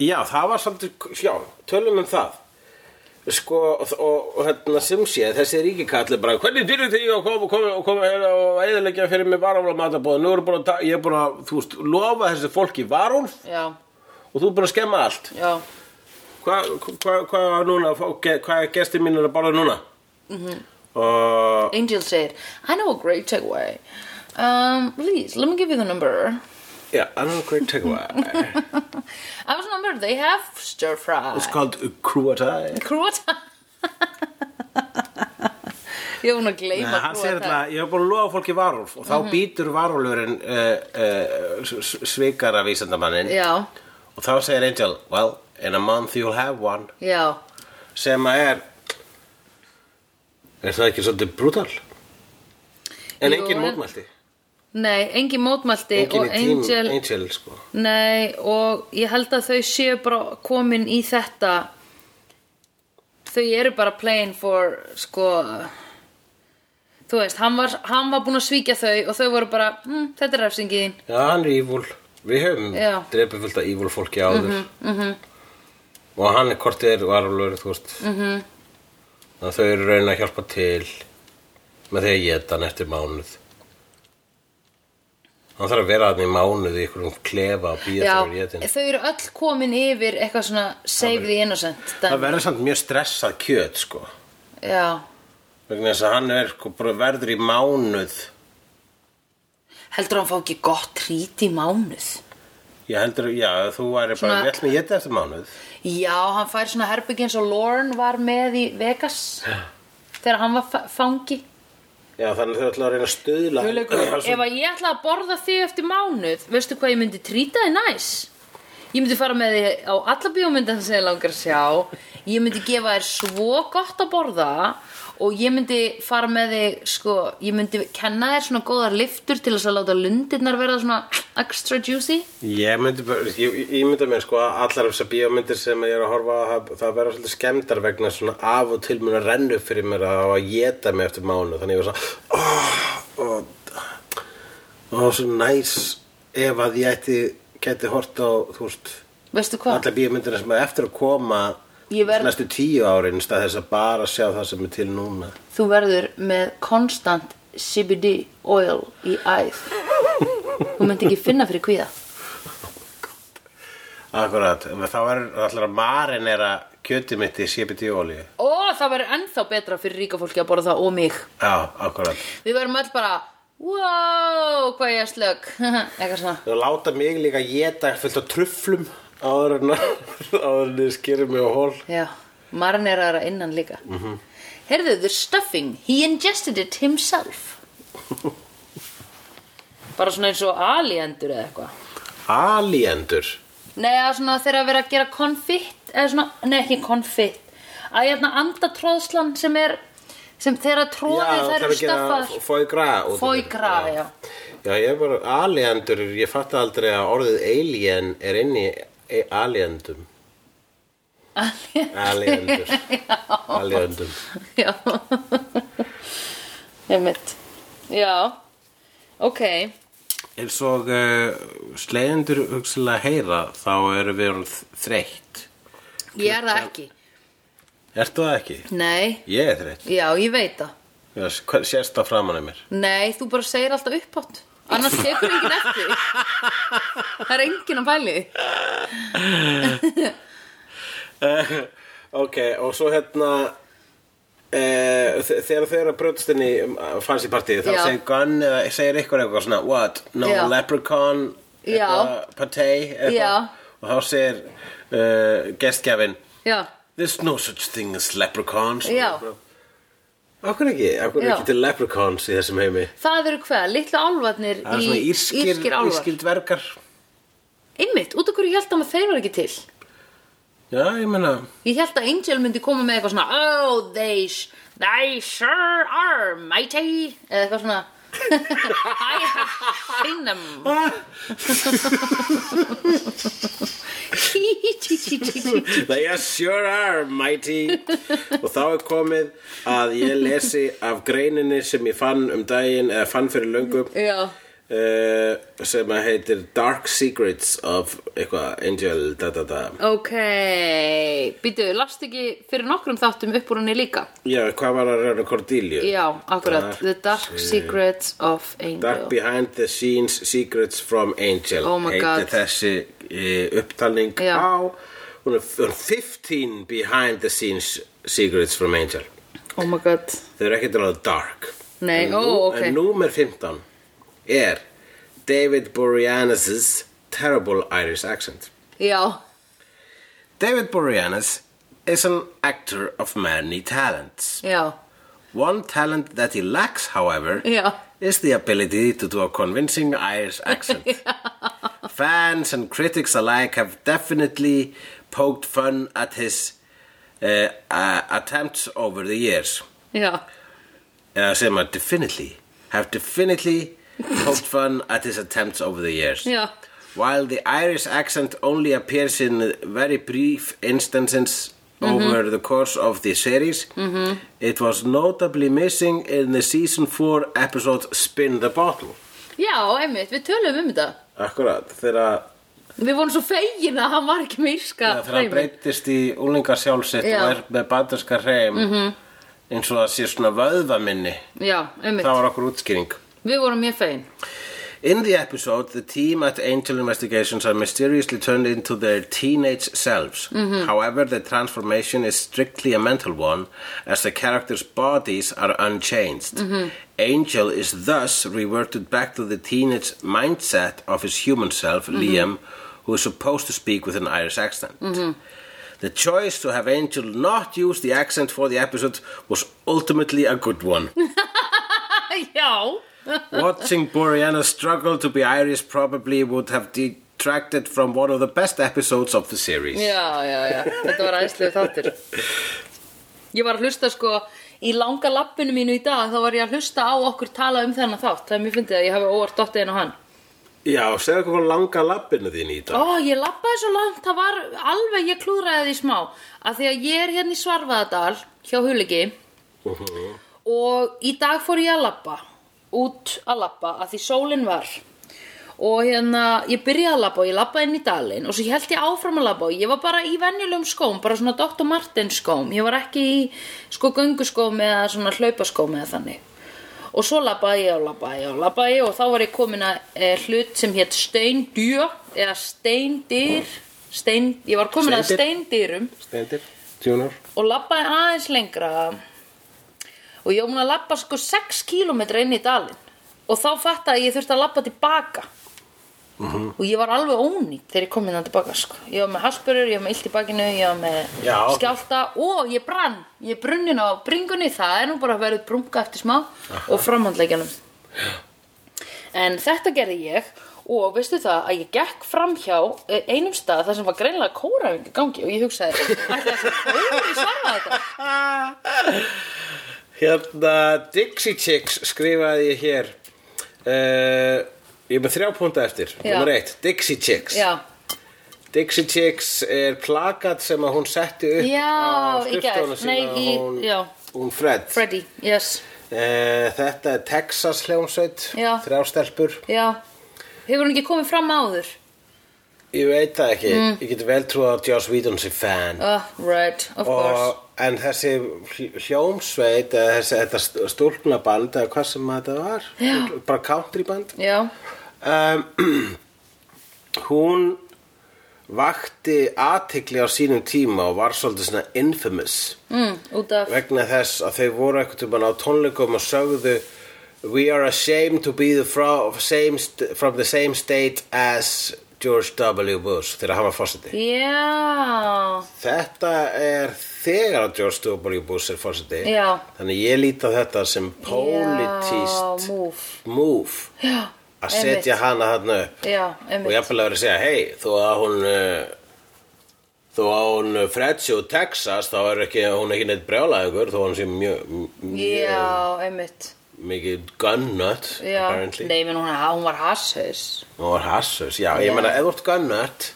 S2: Já, það var samt, já, tölum um það. Sko, og, og, og hérna sem sé, þessi ríkikalli bara, hvernig dyrðu þig að koma, koma, koma hérna og eðilegja fyrir mig varúl á matabóð? Nú er búin að, ta- ég er búin að, þú veist, lofa þessi fólki varúl
S1: Já,
S2: og þú er búin að skemma allt.
S1: já.
S2: hvað hva, hva var núna okay, hvað er gestir mínir að borða núna
S1: Mhm.
S2: og
S1: Angel segir, I know a great takeaway. Um, please, let me give you the number.
S2: yeah, I don't know great takeaway
S1: I was number, they have stir fry.
S2: it's called a cruatai
S1: Krúata. Ég hef hún að gleyma
S2: hann segir
S1: krúata.
S2: alltaf, ég hef búin að lofa fólki varúlf og þá
S1: Mhm.
S2: býtur varúlurinn uh, uh, svikara vísendamanninn
S1: Já,
S2: og þá segir Angel well, in a month you'll have one
S1: já.
S2: sem að er er það ekki svolítið brutal? En
S1: Jú,
S2: engin
S1: en-
S2: mótmælti
S1: Nei, engin mótmælti
S2: Engin
S1: og
S2: í tím,
S1: Angel,
S2: Angel sko
S1: Nei, og ég held að þau séu bara komin í þetta Þau eru bara playing for, sko Þú veist, hann var, hann var búin að svíkja þau og þau voru bara, hm, þetta er refsingið þín
S2: Já, hann er evil Við höfum
S1: Já.
S2: drepið fullt af evil fólki áður -hmm. Og hann er kortir varulur, þú veist -hmm. Þannig að þau eru raun að hjálpa til Með því að geta hann eftir mánuð Hann þarf að vera hann í mánuð í einhverjum klefa og býja þegar
S1: Já,
S2: getin
S1: þau eru öll komin yfir eitthvað svona save the innocent
S2: Það
S1: dæmi.
S2: verður samt mjög stressað kjöt, sko
S1: Já,
S2: Vegna þess að hann er, sko, bara verður í mánuð
S1: heldur hann fá ekki gott rít í mánuð
S2: Ég heldur, já, þú væri bara
S1: Svona-
S2: vel með geta eftir mánuð
S1: Já, hann fær svona herbyggin eins og Lorne var með í Vegas þegar hann var fa- fangi
S2: Já, þannig þau ætla að reyna að stuðla
S1: Ef að ég ætla að borða þig eftir mánuð veistu hvað ég myndi trýta þig næs Ég myndi fara með þig á alla bíómyndan sem ég langar að sjá Ég myndi gefa þér svo gott að borða og ég myndi fara með þig sko, ég myndi kenna þér svona góðar lyftur til þess að láta lundirnar verða svona extra juicy
S2: Ég myndi bara, ég, ég- ég myndi mér sko að allar þessar bíómyndir sem ég er að horfa á, það, það verða svolítið skemmdar vegna svona af og til mun að renna upp fyrir mér að það á að geta mig eftir mánu þannig ég var svona oh, oh, og svo næs ef að ég ætti geti hort á, þú veist
S1: Veistu hvað?
S2: allar bíómyndir sem er eftir að koma
S1: Ég verð-
S2: næstu tíu árin í stað þess að bara sjá það sem er til núna
S1: Þú verður með konstant CBD oil í æð Þú myndi ekki finna fyrir kvíða
S2: Akkurat, þá er allar að marinera kjötið mitt í CBD-olíu
S1: Ó, það verður ennþá betra fyrir ríka fólki að borða það og mig
S2: Já, akkurat
S1: Við verðum öll bara Wow, hvað ég er slögg Eitthvað svona
S2: Þau láta mig líka geta fullt á trufflum áður en áður en þið skerir mig á hól.
S1: Já, marineraðara innan líka mm -hmm. Heyrðu, the stuffing He ingested it himself Bara svona eins og aliendur eða eitthvað
S2: Aliendur.
S1: Nei, að svona þegar að vera að gera konfitt eða svona, nei ekki konfitt að hérna andatróðslan sem er sem þegar að tróði þær eru staffar
S2: Fói gra. út af
S1: Foie
S2: því.
S1: gras, já.
S2: Já, ég er bara, aliendur, ég fatt aldrei að orðið alien er inn í e- aliendum. Aliendur. Aliendum.
S1: Já Einmitt Já Ok
S2: Eins og uh, slegjendur hugsalega heyra, þá eru við orðin þreytt.
S1: Ég er það ekki
S2: Ertu það ekki?
S1: Nei
S2: Ég er þreytt.
S1: Já, ég veit það
S2: Já, s- hvað- Sérst það framan af mér.
S1: Nei, þú bara segir alltaf upphátt Annars tekur enginn eftir því. Það er enginn að pæli því.
S2: Eh, ok, og svo hérna Uh, þegar þau eru að brjótast inn í fancy party þá
S1: Já.
S2: segir Gunn eða segir ykkur eitthvað svona what, no
S1: Já.
S2: leprechaun
S1: Já.
S2: eitthvað, partey
S1: Já.
S2: eitthvað og þá segir uh, gestgjafin
S1: Já,
S2: there's no such thing as leprechauns
S1: Já.
S2: okkur ekki, okkur
S1: Já.
S2: ekki til leprechauns í þessum heimi
S1: það eru hvað, litlu álfarnir
S2: það er
S1: í
S2: svona írskir,
S1: írskir álfar
S2: dvergar
S1: Einmitt, út af hverju ég held að maður þeir var ekki til
S2: já, ég meina
S1: Ég held að Angel myndi koma með eitthvað svona Oh, they, sh- they sure are mighty Eða eitthvað svona I have seen them Tí, tí, tí, tí, tí.
S2: They are sure are mighty Og þá er komið að ég lesi af greininni sem ég fann um daginn eða fann fyrir löngu
S1: Já,
S2: uh, sem að heitir Dark Secrets of eitthvað Angel da da da
S1: ok Býtu, last ekki fyrir nokkrum þáttum upp úr henni líka
S2: Já, hvað var að reyna Cordelia?
S1: Já, akkurat
S2: Dark
S1: The Dark Secrets of
S2: Dark
S1: Angel
S2: Behind the Scenes Secrets from Angel
S1: Oh my
S2: heitir
S1: God.
S2: þessi uh, upptalning
S1: Já.
S2: á hún er hún er 15 Behind the Scenes Secrets from Angel
S1: Oh my god
S2: Þau eru ekkert alveg dark
S1: Nei,
S2: en
S1: ó,
S2: nú-
S1: ok.
S2: En númer 15 er David Boreanaz's terrible Irish accent
S1: Já,
S2: David Boreanaz is an actor of many talents
S1: já,
S2: One talent that he lacks, however
S1: já
S2: is the ability to do a convincing Irish accent Fans and critics alike have definitely poked fun at his uh, uh, attempts over the years
S1: Já,
S2: eða segir maður definitely have definitely poked fun at his attempts over the years.
S1: Já.
S2: While the Irish accent only appears in very brief instances over
S1: Mhm.
S2: the course of the series, it was notably missing in the season 4 episode Spin the Bottle.
S1: Já, einmitt, við tölum um þetta
S2: Akkurat, þegar
S1: Við vorum svo fegin að hann var ekki með írska
S2: þegar hann
S1: hreiminn.
S2: breytist í úlingar sjálfsitt
S1: Já.
S2: og er með banderska hreim eins og það sé svona vöðvaminni.
S1: Já, einmitt,
S2: Það var okkur útskýring.
S1: við vorum mjög fegin
S2: In the episode, the team at Angel Investigations are mysteriously turned into their teenage selves. However, the transformation is strictly a mental one, as the characters' bodies are unchanged. Angel is thus reverted back to the teenage mindset of his human self, Liam, who is supposed to speak with an Irish accent. The choice to have Angel not use the accent for the episode was ultimately a good one.
S1: Já,
S2: Watching Boreana struggle to be Irish probably would have detracted from one of the best episodes of the series.
S1: Já, já, já, þetta var aðeinslegu þáttur Ég var að hlusta sko í langa lappinu mínu í dag þá var ég að hlusta á okkur tala um þennan þátt það er mjög fyndið að ég hafi óvart dottið inn á hann
S2: Já, segðu okkur hvað langa lappinu þín í dag.
S1: Ó, ég lappaði svo langt, það var alveg, ég klúðraði því smá að því að ég er hérna í Svarfaðadal hjá Huligi og í dag fór ég að lappa út að lappa að því sólin var og hérna, ég byrjaði að lappa og ég lappaði inn í dalinn og svo ég held ég áfram að lappa og ég var bara í venjulegum skóm, bara svona Dr. Martens skóm, ég var ekki í sko gönguskóm eða svona hlaupaskóm eða þannig og svo labbaði ég og labbaði ég og labbaði ég og þá var ég komin að e, hlut sem hétt steindjö eða steindyr stein, ég var komin að steindyrum
S2: Stendir, tjúnar.
S1: og labbaði aðeins lengra og ég var múin að labba sko 6 km inn í dalinn og þá fattaði að ég þurfti að labba tilbaka og ég var alveg ónýtt þegar ég kom innan tilbaka sko. ég var með hasburur, ég var með illt í bakinu ég var með
S2: Já.
S1: skjálta og ég brann ég brunnin á bringunni, það er nú bara að verið brunga eftir smá og framhandleikjanum en þetta gerði ég og veistu það að ég gekk framhjá eh, einum stað þar sem var greinlega kóraðing í gangi og ég hugsaði ætli það sé kóraðingur í Svarfaðardal?"
S2: Hérna, Dixie Chicks skrifaði ég hér. Uh, ég er með þrjá púnta eftir.
S1: Já.
S2: Númer eitt, Dixie Chicks.
S1: já,
S2: Dixie Chicks er plakat sem að hún setti upp
S1: Já,
S2: á
S1: í gær.
S2: skrifstónu sína.
S1: Nei, í-
S2: hún,
S1: já.
S2: hún Fred.
S1: Freddy, yes
S2: Eh, þetta er Texas hljómsveit,
S1: Já.
S2: þrjá stelpur.
S1: já, hefur hún ekki komið fram áður
S2: Ég veit það ekki,
S1: Mm.
S2: ég get vel trúið að Joss Whedon sé fan
S1: uh, right, of course
S2: og, En þessi hl- hljómsveit, eða þessi, þetta stúlknaband, eða hvað sem þetta var
S1: Já.
S2: Bara countryband
S1: já,
S2: um, Hún vakti athygli á sínum tíma og var svolítið svona infamous
S1: mm, út af
S2: vegna þess að þau voru eitthvað tímann á tónleikum og sögðu We are ashamed to be the fro same st from the same state as George W. Bush þegar hann var fórseti
S1: já,
S2: Þetta er þegar að George W. Bush er fórseti
S1: Já.
S2: Þannig ég líti á þetta sem
S1: já,
S2: politíst
S1: move
S2: move
S1: já,
S2: að
S1: einmitt.
S2: setja hana hann upp
S1: já,
S2: og
S1: einmitt
S2: jafnvel að vera að segja hei, þó að hún uh, þó að hún Fredsjó Texas þá er ekki, hún er ekki neitt brjálæðingur þó að hún sé mjög mjög
S1: já, einmitt
S2: mikið gunnut
S1: já,
S2: apparently
S1: nei, menn hún, hún var hasshaus
S2: og var hassus, já, ég
S1: Já.
S2: meina ef þú ert gunnut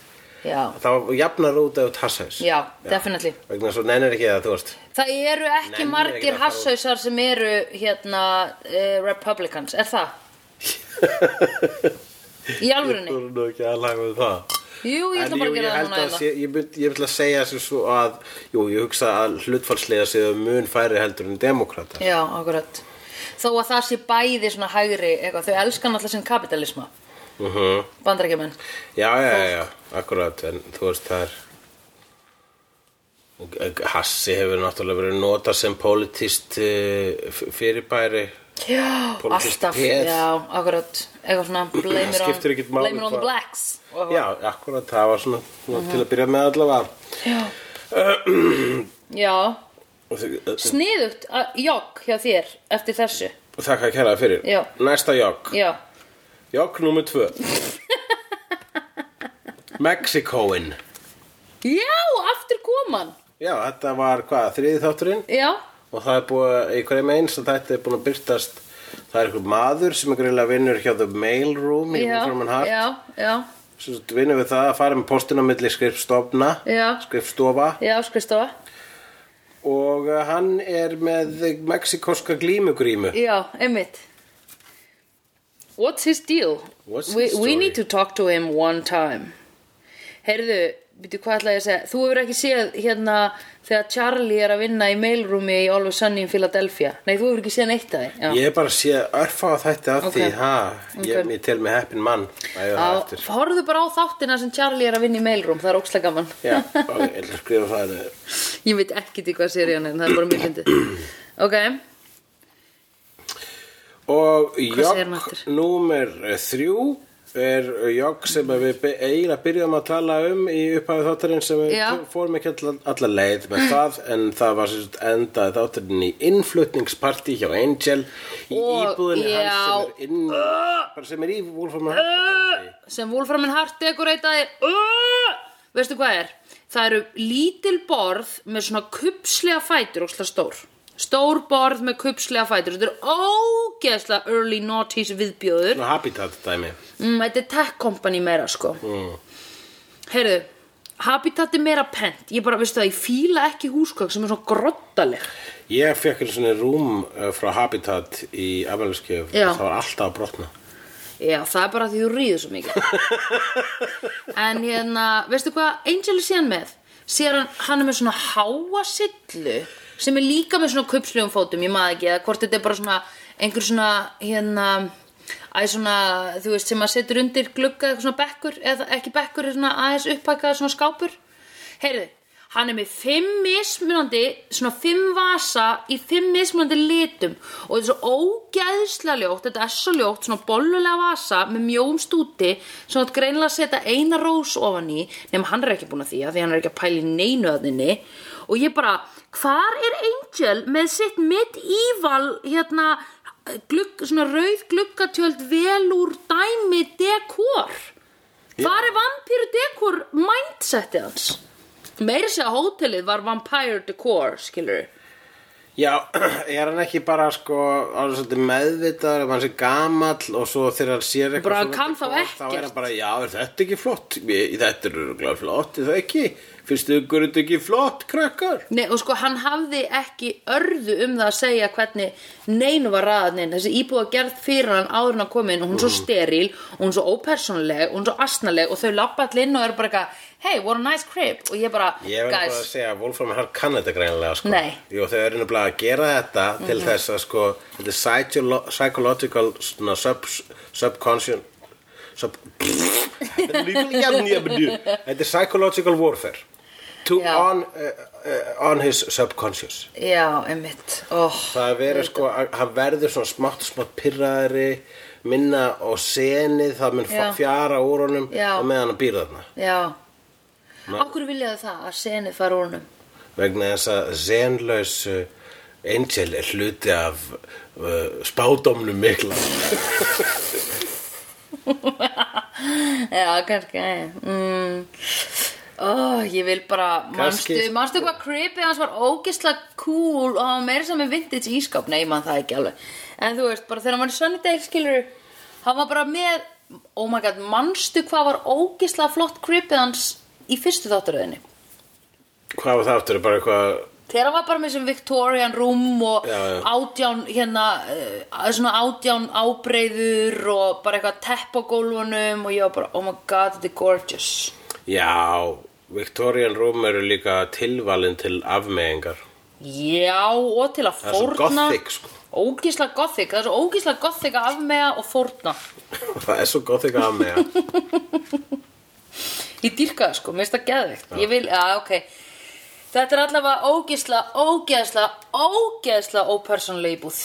S1: já,
S2: þá jafnar út ef þú ert hassus
S1: já, definitely
S2: vegna svo nennir ekki að þú ert
S1: Það eru ekki
S2: Nennir ekki
S1: margir
S2: að fara út.
S1: hasshausar sem eru hérna uh, Republicans, er það? Í alvörunni?
S2: þú eru nú ekki að laga við það
S1: Jú, ég ætla
S2: En
S1: bara
S2: jú,
S1: að
S2: ég
S1: gera það
S2: held
S1: núna
S2: að
S1: eða.
S2: sé, ég mynd- ég vil að segja sem svo að, jú, ég hugsa að hlutfallslega séu mun færi heldur en demokrata
S1: Já, akkurat. Þó að það sé bæði svona hægri, eitthvað, þau elskan alltaf sinn kapitalisma,
S2: uh -huh.
S1: bandarækjumenn.
S2: Já, já, já, já, akkurat, en þú veist það er og Hassi hefur náttúrulega verið notað sem politist eh, f- fyrirbæri
S1: Já,
S2: Politískt
S1: alltaf,
S2: peð.
S1: já, akkurat. Eitthvað svona, blame it on,
S2: skiptir ekkert máli
S1: blame it on the
S2: hvað-
S1: blacks. Og-
S2: Já, akkurat, það var svona uh til að byrja með allavega
S1: Já. Já,
S2: Og þ-
S1: sniðugt að- jogg hjá þér eftir þessu.
S2: og Þakka að kæra fyrir
S1: Já.
S2: Næsta jogg,
S1: Já,
S2: jogg nummer tvö Mexikoin
S1: já, aftur koman.
S2: Já, þetta var hvað, þriði þátturinn
S1: Já,
S2: og það er búið, í hverjum eins að þetta er búin að byrtast það er einhver maður sem er greiðlega vinnur hjá The Mail Room í Fromman
S1: já,
S2: Hart
S1: já, já,
S2: sem sagt vinnur við það að fara með postin á milli skrifstofna
S1: Já.
S2: skrifstofa
S1: já, skristofa
S2: og uh, hann er með mexikoska glímugrímu
S1: Já, einmitt What's his deal?
S2: What's
S1: we,
S2: his
S1: we
S2: story?
S1: need to talk to him one time Heyrðu, byrju hvað ætla ég að segja Þú hefur ekki séð hérna þegar Charlie er að vinna í mailroomi í Always Sunny in Philadelphia Nei, þú hefur ekki séð neitt að því
S2: ég er bara að sé örfa á þetta af
S1: Ok.
S2: því ha, ég,
S1: Ok.
S2: ég tel mig heppin mann að ég það eftir
S1: Horfðu bara á þáttina sem Charlie er að vinna í mailroom Það er ókslega gaman
S2: já, ok, ég ætla að skrifa það niður.
S1: Ég veit ekki til hvað serían er, það er bara mjög fyndið Ok,
S2: og
S1: segir hann aftur?
S2: jogg númer eh, þrjú er jogg sem að við be- eiginlega byrjum að tala um í upphæðu þáttarinn sem við
S1: Já.
S2: t- fórum ekki alla, alla leið með það en það var sérst endaði þáttarinn í innflutningsparti hjá Angel í
S1: Og-
S2: íbúðinni
S1: já.
S2: hans sem er inn bara sem er í Wolfram Hart
S1: sem Wolframin Hart dekoreitaði uh, veistu hvað er það eru lítil borð með svona kupslega fætur og slag stór stór borð með kupslega fætur þetta er ógeðslega early noughties viðbjóður
S2: Svona Habitat dæmi
S1: mm, þetta er tech company meira sko heyrðu Habitat er meira pent, ég bara, veistu það, ég fíla ekki húsgögn sem er svona grottaleg.
S2: Ég fekk einu svona rúm eh, frá Habitat í Afmæliskef
S1: Já.
S2: það var alltaf að brotna
S1: Já, það er bara því þú ríður svo mikið. en hérna, veistu hvað Angel er síðan með? Sér hann, hann er með svona háa sillu sem er líka með svona kupslegum fótum, ég maður ekki, eða hvort þetta er bara svona einhver svona, hérna, æ, svona, þú veist, sem maður setur undir glugga, eitthvað svona bekkur, eða ekki bekkur, svona aðeins upphækkaða svona skápur. Heyrðu, hann er með fimm mismunandi, svona fimm vasa í fimm mismunandi litum og þetta er svo ógeðslega ljótt, þetta er svo ljótt, svona bollulega vasa með mjóum stúti sem hann greinlega að setja eina rós ofan í nema hann er ekki búin að því að því hann er ekki að pæla í neinu að þinni og ég bara, hvar er Angel með sitt mitt íval hérna glugg, svona rauð gluggatjöld vel úr dæmi dekor? Hvar er vampíru dekor mindsetið hans? Meiri segja hótelið var vampire decor, skilur
S2: Já, er hann ekki bara sko alveg svolítið meðvitaður ef hann sé gamall og svo þegar hann sér eitthvað
S1: Bara
S2: svona
S1: kann þá
S2: dekor, Þá er
S1: ekkert.
S2: hann bara, já, er þetta ekki flott? Ég- Þetta er örugglega flott, er það ekki? Finnst ykkur þetta ekki flott, krakkar?
S1: Nei, og sko, hann hafði ekki örðu um það að segja hvernig neinu var raðaninn, þessi íbúða gerð fyrir hann áður en að koma inn og hún er svo steril og hún er svo ópersónuleg og hún er svo asnaleg og þau labba allir inn og eru bara eitthvað hey, what a nice crib og ég bara,
S2: Ég verður bara að
S1: guys,
S2: segja að Wolfram Hart kann þetta greinilega sko.
S1: Nei. Mhm.
S2: Jú, þau eru nefnilega að gera þetta til þess að sko, þetta er psycholo psychological svona, sub, subconscious sub, Þetta er líka- já, já, já. Þetta er psychological warfare to
S1: Já.
S2: on, uh, uh, on his subconscious
S1: já, einmitt oh,
S2: Það er verið sko, að- hann verður svona smátt og smátt pirraðari minna og senið, það mun
S1: Já.
S2: fjara úr honum
S1: Já.
S2: og meðan hann býr þarna
S1: já Akkur viljaðu það að senið fara úr honum
S2: vegna þess að zenlaus Angel er hluti af uh, spádómnum mikla
S1: Já, kannski eh, mm. oh, Ég vil bara Manstu,
S2: Kannski-
S1: manstu hvað creepy hans var ógislega cool og hann var meira saman vintage ískáp Nei, mann það ekki alveg En þú veist, bara þegar hann var í Sunnydale skilur Hann var bara með Oh my god, manstu hvað var ógislega flott creepy hans í fyrstu þátturöðinni
S2: hvað var það aftur, bara eitthvað
S1: Þegar hann var bara með þessum Victorian room og
S2: Já, já.
S1: átján, hérna, uh, svona átján ábreyður og bara eitthvað tepp á gólfunum og ég var bara, oh my god, þetta er gorgeous.
S2: já, Victorian Room eru líka tilvalin til afmeðingar
S1: Já, og til að
S2: Það er svo
S1: fórna
S2: gothic, sko.
S1: Ógísla gothic, það er svo ógísla gothic að afmega og fórna
S2: það er svo gott ekki afmeða
S1: Ég dýrka það sko, mér finnst það geðveikt Ég vil, já, ok Þetta er allavega ógísla, ógeðsla, ógeðsla ópersónuleg íbúð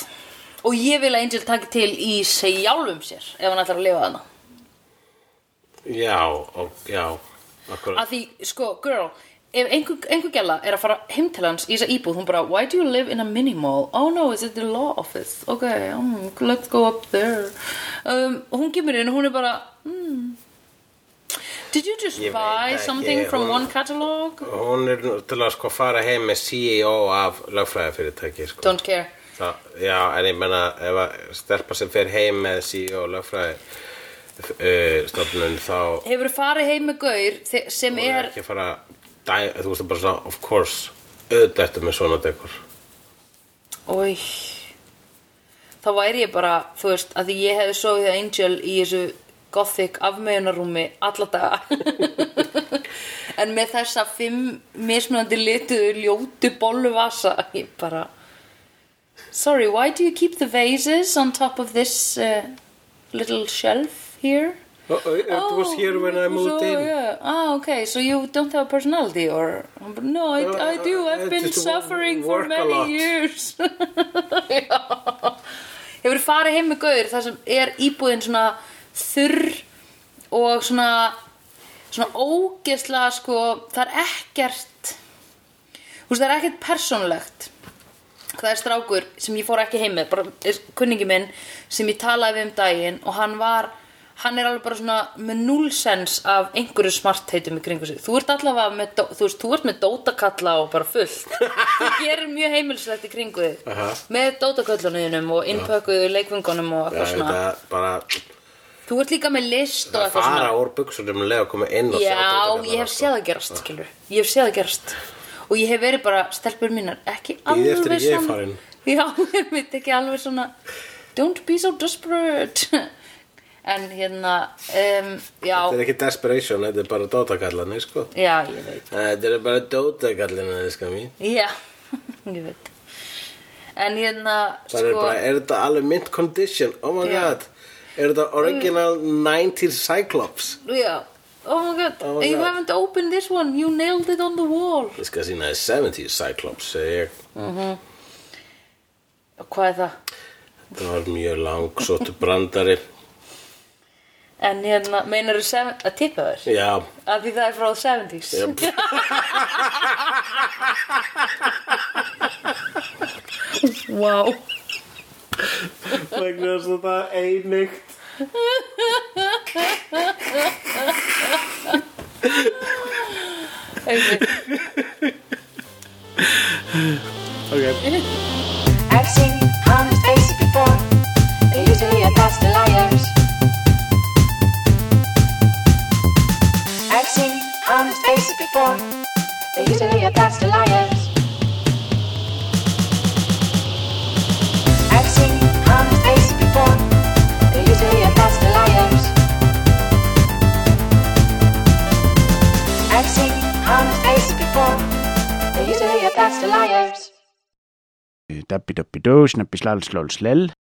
S1: Og ég vil að Angel taki til í sjálfum sér Ef hann ætlar að lifa þarna
S2: já, og, já akkurat.
S1: Að því, sko, girl Ef einhver, einhver gæla er að fara heim til hans í þessa íbúð, hún bara, why do you live in a mini mall? Oh no, is it the law office? Ok, um, let's go up there. Um, og hún kemur inn og hún er bara, hmm. Did you just
S2: Ég veit
S1: buy
S2: ekki,
S1: something from
S2: hún-
S1: one catalog?
S2: E hún er nú til að sko fara heim með CEO af lögfræðafyrirtæki sko.
S1: Don't care.
S2: Já, já, en ég menna ef að stelpa sem fer heim með sí og lögfræði uh, stofnun þá
S1: Hefur farið heim með gaur þe- sem
S2: hún
S1: er,
S2: ekki að fara að dæ, þú veist það bara svona, of course auðvitað ertu með svona dekur
S1: oi, þá væri ég bara, þú veist, að því ég hefði sofið Angel í þessu gothic afmeðunarúmi alla daga. en með þessa fimm mismunandi lituðu ljótu bolluvasa, ég bara, sorry, why do you keep the vases on top of this uh, little shelf here?
S2: oh, oh, It was here when I moved
S1: so,
S2: in
S1: Yeah. Ah, okay. So you don't have a personality, or no? I,
S2: Uh,
S1: I do.
S2: I
S1: I've been
S2: just
S1: suffering for
S2: work a lot.
S1: many years. Já. Hefur farið heim með gaur þar sem er íbúðin svona þurr og svona svona ógeðslega sko, það er ekkert þú veist, það er ekkert persónulegt það er strákur sem ég fór ekki heim með bara er kunningi minn sem ég talaði við um daginn og hann var hann er alveg bara svona með nullsens af einhverju smartheitum í kringu sig þú ert allavega með, dó- þú veist, þú ert með dótakalla og bara fullt þú gerir mjög heimilslegt í kringu þig
S2: Aha.
S1: með dótaköllunum og innpökuðu leikvöngunum og
S2: Já,
S1: eitthvað svona
S2: þetta bara
S1: þú ert líka með list og eitthvað svona
S2: fara úr buksunum um leið að koma inn og sjá sko.
S1: Já,
S2: dótið
S1: ég hef
S2: hennar,
S1: séð það gerast,
S2: Ah.
S1: skilur Ég hef séð það gerast Og ég hef verið bara, stelpur mínar, ekki alveg
S2: eftir að ég er
S1: svona
S2: farin.
S1: Já, ég mitt ekki alveg svona Don't be so desperate En hérna, um, já
S2: Þetta er ekki desperation, þetta er bara dótakallarnir sko
S1: Já, ég veit
S2: Þetta er bara dótakallarnir sko mín
S1: Já, ég veit En hérna,
S2: Það er
S1: sko
S2: bara, er þetta alveg mint condition? Oh my
S1: Já. Mm.
S2: god Er þetta original 90s Cyclops?
S1: Já, oh my god
S2: Oh my
S1: You
S2: God.
S1: haven't opened this one, you nailed it on the wall
S2: Ég skal sína þér 70s Cyclops segi ég.
S1: Hvað er það?
S2: Þetta var mjög langsóttu brandari
S1: En hérna, meinarðu seven- að tippa þér?
S2: Já,
S1: Af því það er frá 70s Wow
S2: vegna þess að það er einugt
S3: I've seen honest faces before. They're usually a pass to liars. I've seen honest faces before. They're usually a pass to liars. I've seen honest faces before. They're usually a pass to liars. I've seen honest faces before. They're usually a pass to liars.
S4: Dabbi dabbi dó, snabbi slal slal slel